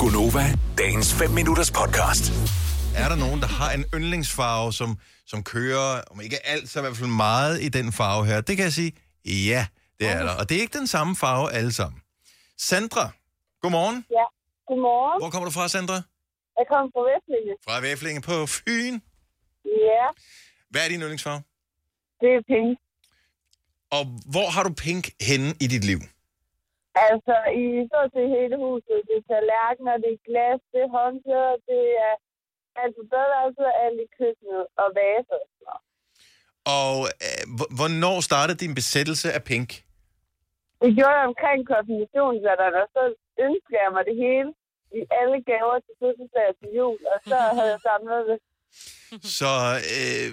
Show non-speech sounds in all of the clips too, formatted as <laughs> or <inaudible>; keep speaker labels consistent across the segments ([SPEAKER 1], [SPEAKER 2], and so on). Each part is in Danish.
[SPEAKER 1] Gunova, dagens 5 minutters podcast.
[SPEAKER 2] Er der nogen, der har en yndlingsfarve, som, som kører, om ikke alt, så i hvert fald meget i den farve her? Det kan jeg sige, ja, det er der. Og det er ikke den samme farve alle sammen. Sandra, godmorgen.
[SPEAKER 3] Ja. Godmorgen.
[SPEAKER 2] Hvor kommer du fra, Sandra?
[SPEAKER 3] Jeg kommer fra Vestlinge.
[SPEAKER 2] Fra Væflinge på Fyn.
[SPEAKER 3] Ja,
[SPEAKER 2] Hvad er din yndlingsfarve?
[SPEAKER 3] det er penge.
[SPEAKER 2] Og hvor har du pink henne i dit liv?
[SPEAKER 3] Altså, i stort set hele huset. Det er tallerkener, det er glas, det er håndklæder, det er... Altså, badeværelset er alt i køkkenet og vaser.
[SPEAKER 2] Og øh, hvor- hvornår startede din besættelse af pink?
[SPEAKER 3] Det gjorde jeg omkring konfirmationsalderen, og så ønskede jeg mig det hele i alle gaver til fødselsdag og til jul, og så havde jeg samlet det.
[SPEAKER 2] Så øh,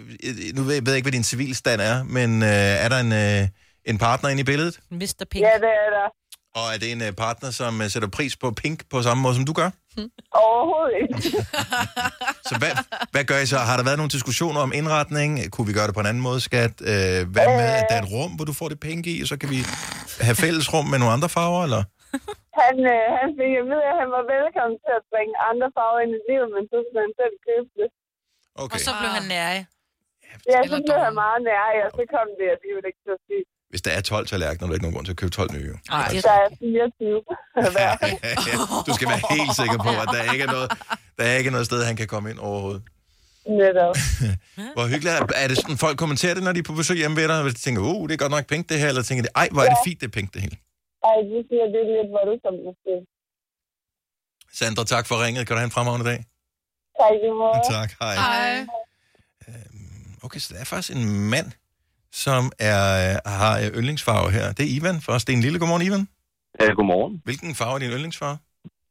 [SPEAKER 2] nu ved jeg ved jeg ikke, hvad din civilstand er, men øh, er der en, øh, en partner inde i billedet?
[SPEAKER 4] Mr. Pink.
[SPEAKER 3] Ja, det er der.
[SPEAKER 2] Og er det en øh, partner, som øh, sætter pris på pink på samme måde, som du gør?
[SPEAKER 3] Overhovedet ikke.
[SPEAKER 2] Så hvad, hvad gør I så? Har der været nogle diskussioner om indretning? Kunne vi gøre det på en anden måde, skat? Øh, hvad med, at der er et rum, hvor du får det pink i, og så kan vi have fælles rum med nogle andre farver, eller?
[SPEAKER 3] Han, øh, han fik at vide, at han var velkommen til at bringe andre farver ind i livet, men så skulle han selv købe det.
[SPEAKER 2] Okay.
[SPEAKER 4] Og så
[SPEAKER 2] Ah.
[SPEAKER 4] blev han nærig.
[SPEAKER 3] Ja, så
[SPEAKER 4] Eller
[SPEAKER 3] blev
[SPEAKER 4] dårlig.
[SPEAKER 3] han meget nær, og så kom det alligevel ikke så sygt.
[SPEAKER 2] Hvis der er 12 tallerkener, er der ikke nogen grund til at købe 12 nye. jo.
[SPEAKER 4] Ej,
[SPEAKER 3] Der er 24 hver.
[SPEAKER 2] Ja, <laughs> du skal være helt sikker på, at der ikke er noget, der er ikke noget sted, han kan komme ind overhovedet.
[SPEAKER 3] Netop.
[SPEAKER 2] Hvor hyggeligt er, er det sådan, folk kommenterer det, når de er på besøg hjemme ved dig, og de tænker, uh, det er godt nok pink det her, eller tænker de, ej, hvor er det fint, det er pink det hele.
[SPEAKER 3] Ej, du siger, det er lidt voldsomt måske.
[SPEAKER 2] Sandra, tak for ringet. Kan du have en fremragende dag?
[SPEAKER 3] Tak i måde.
[SPEAKER 2] Tak, hej. Øhm,
[SPEAKER 4] Ej.
[SPEAKER 2] Okay, så der er faktisk en mand, som er, øh, har øh, yndlingsfarve her. Det er Ivan fra Sten Lille. Godmorgen, Ivan.
[SPEAKER 5] Øh, godmorgen.
[SPEAKER 2] Hvilken farve er din yndlingsfarve?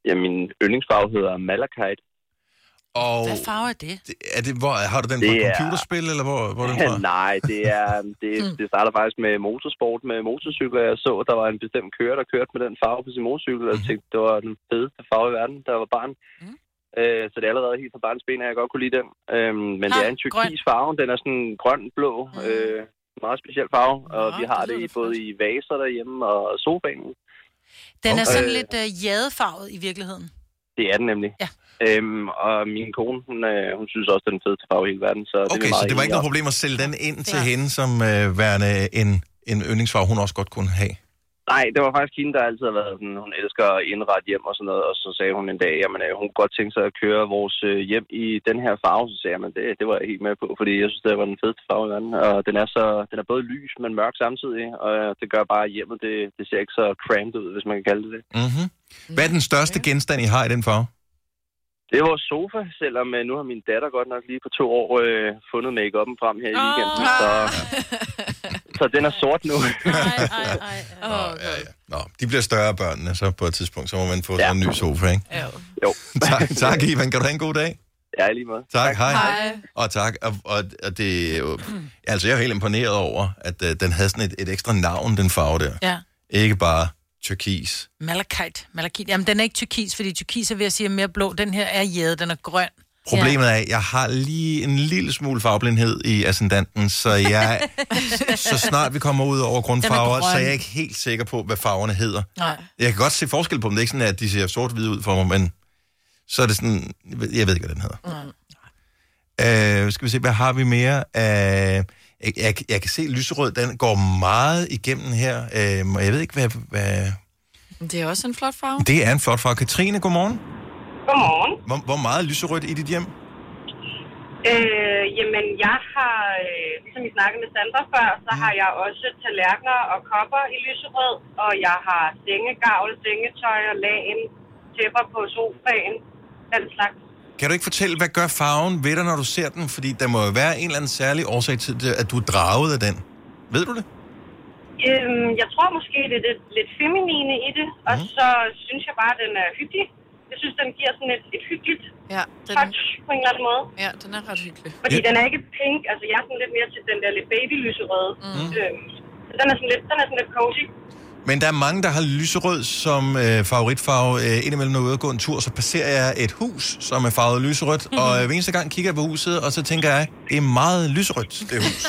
[SPEAKER 5] Ja, min yndlingsfarve hedder Malachite.
[SPEAKER 2] Og
[SPEAKER 4] Hvad farve er det?
[SPEAKER 2] det- er det, hvor, har du den fra
[SPEAKER 5] Det er-
[SPEAKER 2] computerspil, eller hvor, hvor er
[SPEAKER 5] <laughs>
[SPEAKER 2] den fra?
[SPEAKER 5] Nej, det, er, det,
[SPEAKER 4] Hmm.
[SPEAKER 5] det starter faktisk med motorsport med motorcykler. Jeg så, der var en bestemt kører, der kørte med den farve på sin motorcykel, og
[SPEAKER 2] Hmm.
[SPEAKER 5] jeg tænkte, det var den fedeste farve i verden, der var barn.
[SPEAKER 4] Mm.
[SPEAKER 5] Øh, så det er allerede helt fra barns ben, at jeg godt kunne lide den. Øhm, men det
[SPEAKER 4] Ah,
[SPEAKER 5] er en turkis farve. Den er sådan grøn-blå.
[SPEAKER 4] Mm.
[SPEAKER 5] Øh, meget speciel farve. Og
[SPEAKER 4] Nå,
[SPEAKER 5] vi har
[SPEAKER 4] det
[SPEAKER 5] det,
[SPEAKER 4] lyder
[SPEAKER 5] i,
[SPEAKER 4] da
[SPEAKER 5] både i vaser derhjemme og sofaen.
[SPEAKER 4] Den er
[SPEAKER 2] Okay.
[SPEAKER 4] sådan lidt øh, jadefarvet i virkeligheden.
[SPEAKER 5] Det er den nemlig.
[SPEAKER 4] Ja.
[SPEAKER 5] Øhm, og min kone, hun, øh, hun synes også, det er den fedeste farve i hele verden. Så det er
[SPEAKER 2] Okay,
[SPEAKER 5] vi meget
[SPEAKER 2] så det var ikke noget
[SPEAKER 5] enige om.
[SPEAKER 2] problem at sælge den ind til
[SPEAKER 4] Ja.
[SPEAKER 2] hende, som øh, værende en, en yndlingsfarve, hun også godt kunne have.
[SPEAKER 5] Nej, det var faktisk hende, der altid har været sådan, hun elsker at indrette hjem og sådan noget, og så sagde hun en dag, jamen øh, hun kunne godt tænke sig at køre vores øh, hjem i den her farve, så sagde jeg, men det, det var jeg helt med på, fordi jeg synes, det var den fedeste farve i verden, og den er, så, den er både lys, men mørk samtidig, og øh, det gør bare at hjemmet, det, det ser ikke så cramped ud, hvis man kan kalde det det.
[SPEAKER 2] Mm-hmm. Hvad er den største genstand, I har i den farve?
[SPEAKER 5] Det er vores sofa, selvom øh, nu har min datter godt nok lige på to år øh, fundet make frem her i weekenden, så, så den er sort nu. <laughs>
[SPEAKER 4] Ej, ej, ej. Åh,
[SPEAKER 2] ja, ja. Nå, de bliver større børnene, så på et tidspunkt, så må man få ja.
[SPEAKER 5] Ja.
[SPEAKER 2] sådan en ny sofa,
[SPEAKER 5] <laughs>
[SPEAKER 2] ikke?
[SPEAKER 4] ja.
[SPEAKER 5] jo,
[SPEAKER 2] tak, tak, Ivan. Kan du have en god dag?
[SPEAKER 5] jeg er lige med.
[SPEAKER 2] Tak, tak. hej.
[SPEAKER 4] Hej.
[SPEAKER 2] Og tak. Og, og, og det, er jo- altså, jeg er jo helt imponeret over, at uh, den havde sådan et, et ekstra navn, den farve der.
[SPEAKER 4] Ja.
[SPEAKER 2] Ikke bare tyrkis.
[SPEAKER 4] Malakite. Malakit. Jamen, den er ikke tyrkis, fordi tyrkis er ved at sige er mere blå. Den her er jæde, den er grøn.
[SPEAKER 2] Problemet er, at jeg har lige en lille smule farveblindhed i ascendanten, så
[SPEAKER 4] <laughs>
[SPEAKER 2] jeg så snart vi kommer ud over grundfarver,
[SPEAKER 4] Den er
[SPEAKER 2] så
[SPEAKER 4] grøn.
[SPEAKER 2] er jeg ikke helt sikker på, hvad farverne hedder.
[SPEAKER 4] Nej.
[SPEAKER 2] Jeg kan godt se forskel på dem. Det er ikke sådan, at de ser sort-hvide ud for mig, men så er det sådan... Jeg ved jeg ved ikke, hvad den hedder. Øh, skal vi se, hvad har vi mere? Øh, jeg, jeg, jeg kan se, at lyserød den går meget igennem her. Øh, og jeg ved ikke, hvad, hvad...
[SPEAKER 6] Det er også en flot farve.
[SPEAKER 2] Det er en flot farve. Katrine, godmorgen.
[SPEAKER 7] Godmorgen.
[SPEAKER 2] Hvor, hvor meget er lyserødt i dit hjem?
[SPEAKER 7] Øh, jamen, jeg har, øh, ligesom I snakkede med Sandra før, så har jeg også tallerkener og kopper i lyserød, og jeg har sengegavl, sengetøj og lagen, tæpper på sofaen, den slags.
[SPEAKER 2] Kan du ikke fortælle, hvad gør farven ved dig, når du ser den? Fordi der må jo være en eller anden særlig årsag til, det, at du er draget af den. Ved du det?
[SPEAKER 7] Øhm, jeg tror måske, det er det lidt feminine i det, og så synes jeg bare, den er hyggelig. Jeg synes, den giver sådan et, et hyggeligt
[SPEAKER 6] Ja, den,
[SPEAKER 7] touch på en eller anden måde.
[SPEAKER 6] ja, den er ret hyggelig.
[SPEAKER 7] Fordi
[SPEAKER 2] Ja.
[SPEAKER 7] den er ikke pink, altså jeg er sådan lidt mere til den der lidt babylyserøde. Mm. Øhm, så den er sådan lidt, den er sådan lidt cozy.
[SPEAKER 2] Men der er mange, der har lyserød som øh, favoritfarve. Øh, indimellem, når jeg er ude og gå en tur, så passerer jeg et hus, som er farvet lyserødt.
[SPEAKER 7] Mhm.
[SPEAKER 2] Mm-hmm. Og øh, hver eneste gang kigger jeg på huset, og så tænker jeg, det er meget lyserødt, det
[SPEAKER 7] <laughs>
[SPEAKER 2] hus.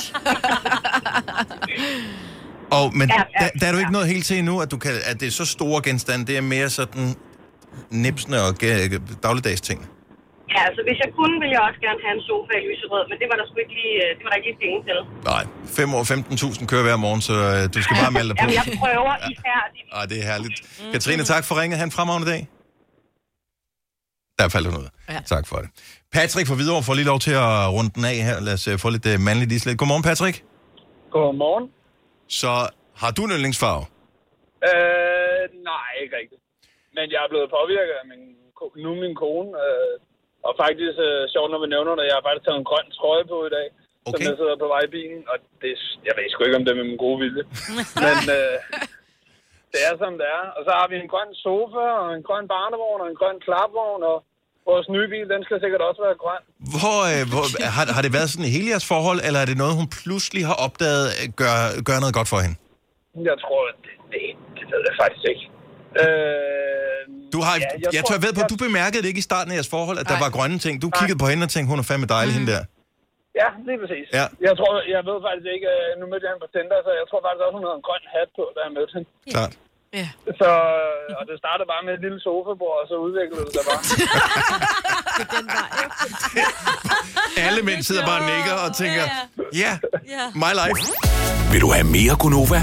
[SPEAKER 2] og, men
[SPEAKER 7] Ja,
[SPEAKER 2] ja,
[SPEAKER 7] ja,
[SPEAKER 2] ja, der, der er du ikke
[SPEAKER 7] ja.
[SPEAKER 2] nået helt til endnu, at, du kan, at det er så store genstande. Det er mere sådan nipsene og ga- dagligdags ting.
[SPEAKER 7] Ja, altså hvis jeg kunne, ville jeg også gerne have en sofa i lyserød, men det var der sgu ikke lige, øh, det var der ikke lige penge til.
[SPEAKER 2] Nej, 5 år 15.000 kører hver morgen, så øh, du skal bare melde dig på.
[SPEAKER 7] Jamen, jeg prøver ja. ihærdigt.
[SPEAKER 2] Ej, det er herligt. Katrine, tak for ringet. Han fremragende dag. Der faldt hun ud. Ja.
[SPEAKER 6] Ja.
[SPEAKER 2] Tak for det. Patrick fra Hvidovre får lige lov til at runde den af her. Lad os øh, få lidt øh, mandligt islet. Godmorgen, Patrick.
[SPEAKER 8] Godmorgen.
[SPEAKER 2] Så har du en yndlingsfarve?
[SPEAKER 8] Øh, nej, ikke rigtigt. Men jeg er blevet påvirket af min, ko- nu min kone. Øh, og faktisk, øh, sjovt når man nævner det, jeg har faktisk taget en grøn trøje på i dag. Som
[SPEAKER 2] Okay.
[SPEAKER 8] jeg sidder på vej i bilen, og det, jeg ved sgu ikke, om det er med min gode
[SPEAKER 2] <laughs>
[SPEAKER 8] vilje. Men øh, det er, som det er. Og så har vi en grøn sofa, og en grøn barnevogn, og en grøn klapvogn, og vores nye bil, den skal sikkert også være grøn.
[SPEAKER 2] Hvor, øh, hvor, har, har det været sådan i hele jeres forhold, eller er det noget, hun pludselig har opdaget øh, gør, gør noget godt for hende?
[SPEAKER 8] Jeg tror, det, det, det ved jeg faktisk ikke. Øh,
[SPEAKER 2] Du har, ja,
[SPEAKER 8] ja,
[SPEAKER 2] jeg, jeg tør ved på, at du bemærkede det ikke i starten af jeres forhold, at der
[SPEAKER 6] Nej.
[SPEAKER 2] var grønne ting. Du kiggede på hende og tænkte, hun er fandme dejlig, mm. hende der.
[SPEAKER 8] Ja, lige præcis.
[SPEAKER 2] Ja.
[SPEAKER 8] Jeg tror, jeg ved faktisk ikke, øh, nu mødte jeg hende på Tinder, så jeg tror faktisk også, hun havde en grøn hat på, da jeg mødte hende.
[SPEAKER 2] Klart.
[SPEAKER 6] Ja.
[SPEAKER 8] Så, øh, og det startede bare med et lille sofabord, og så udviklede det sig bare.
[SPEAKER 2] Alle mænd sidder bare og nikker og tænker, ja, yeah, my life.
[SPEAKER 1] Vil du have mere Gunova?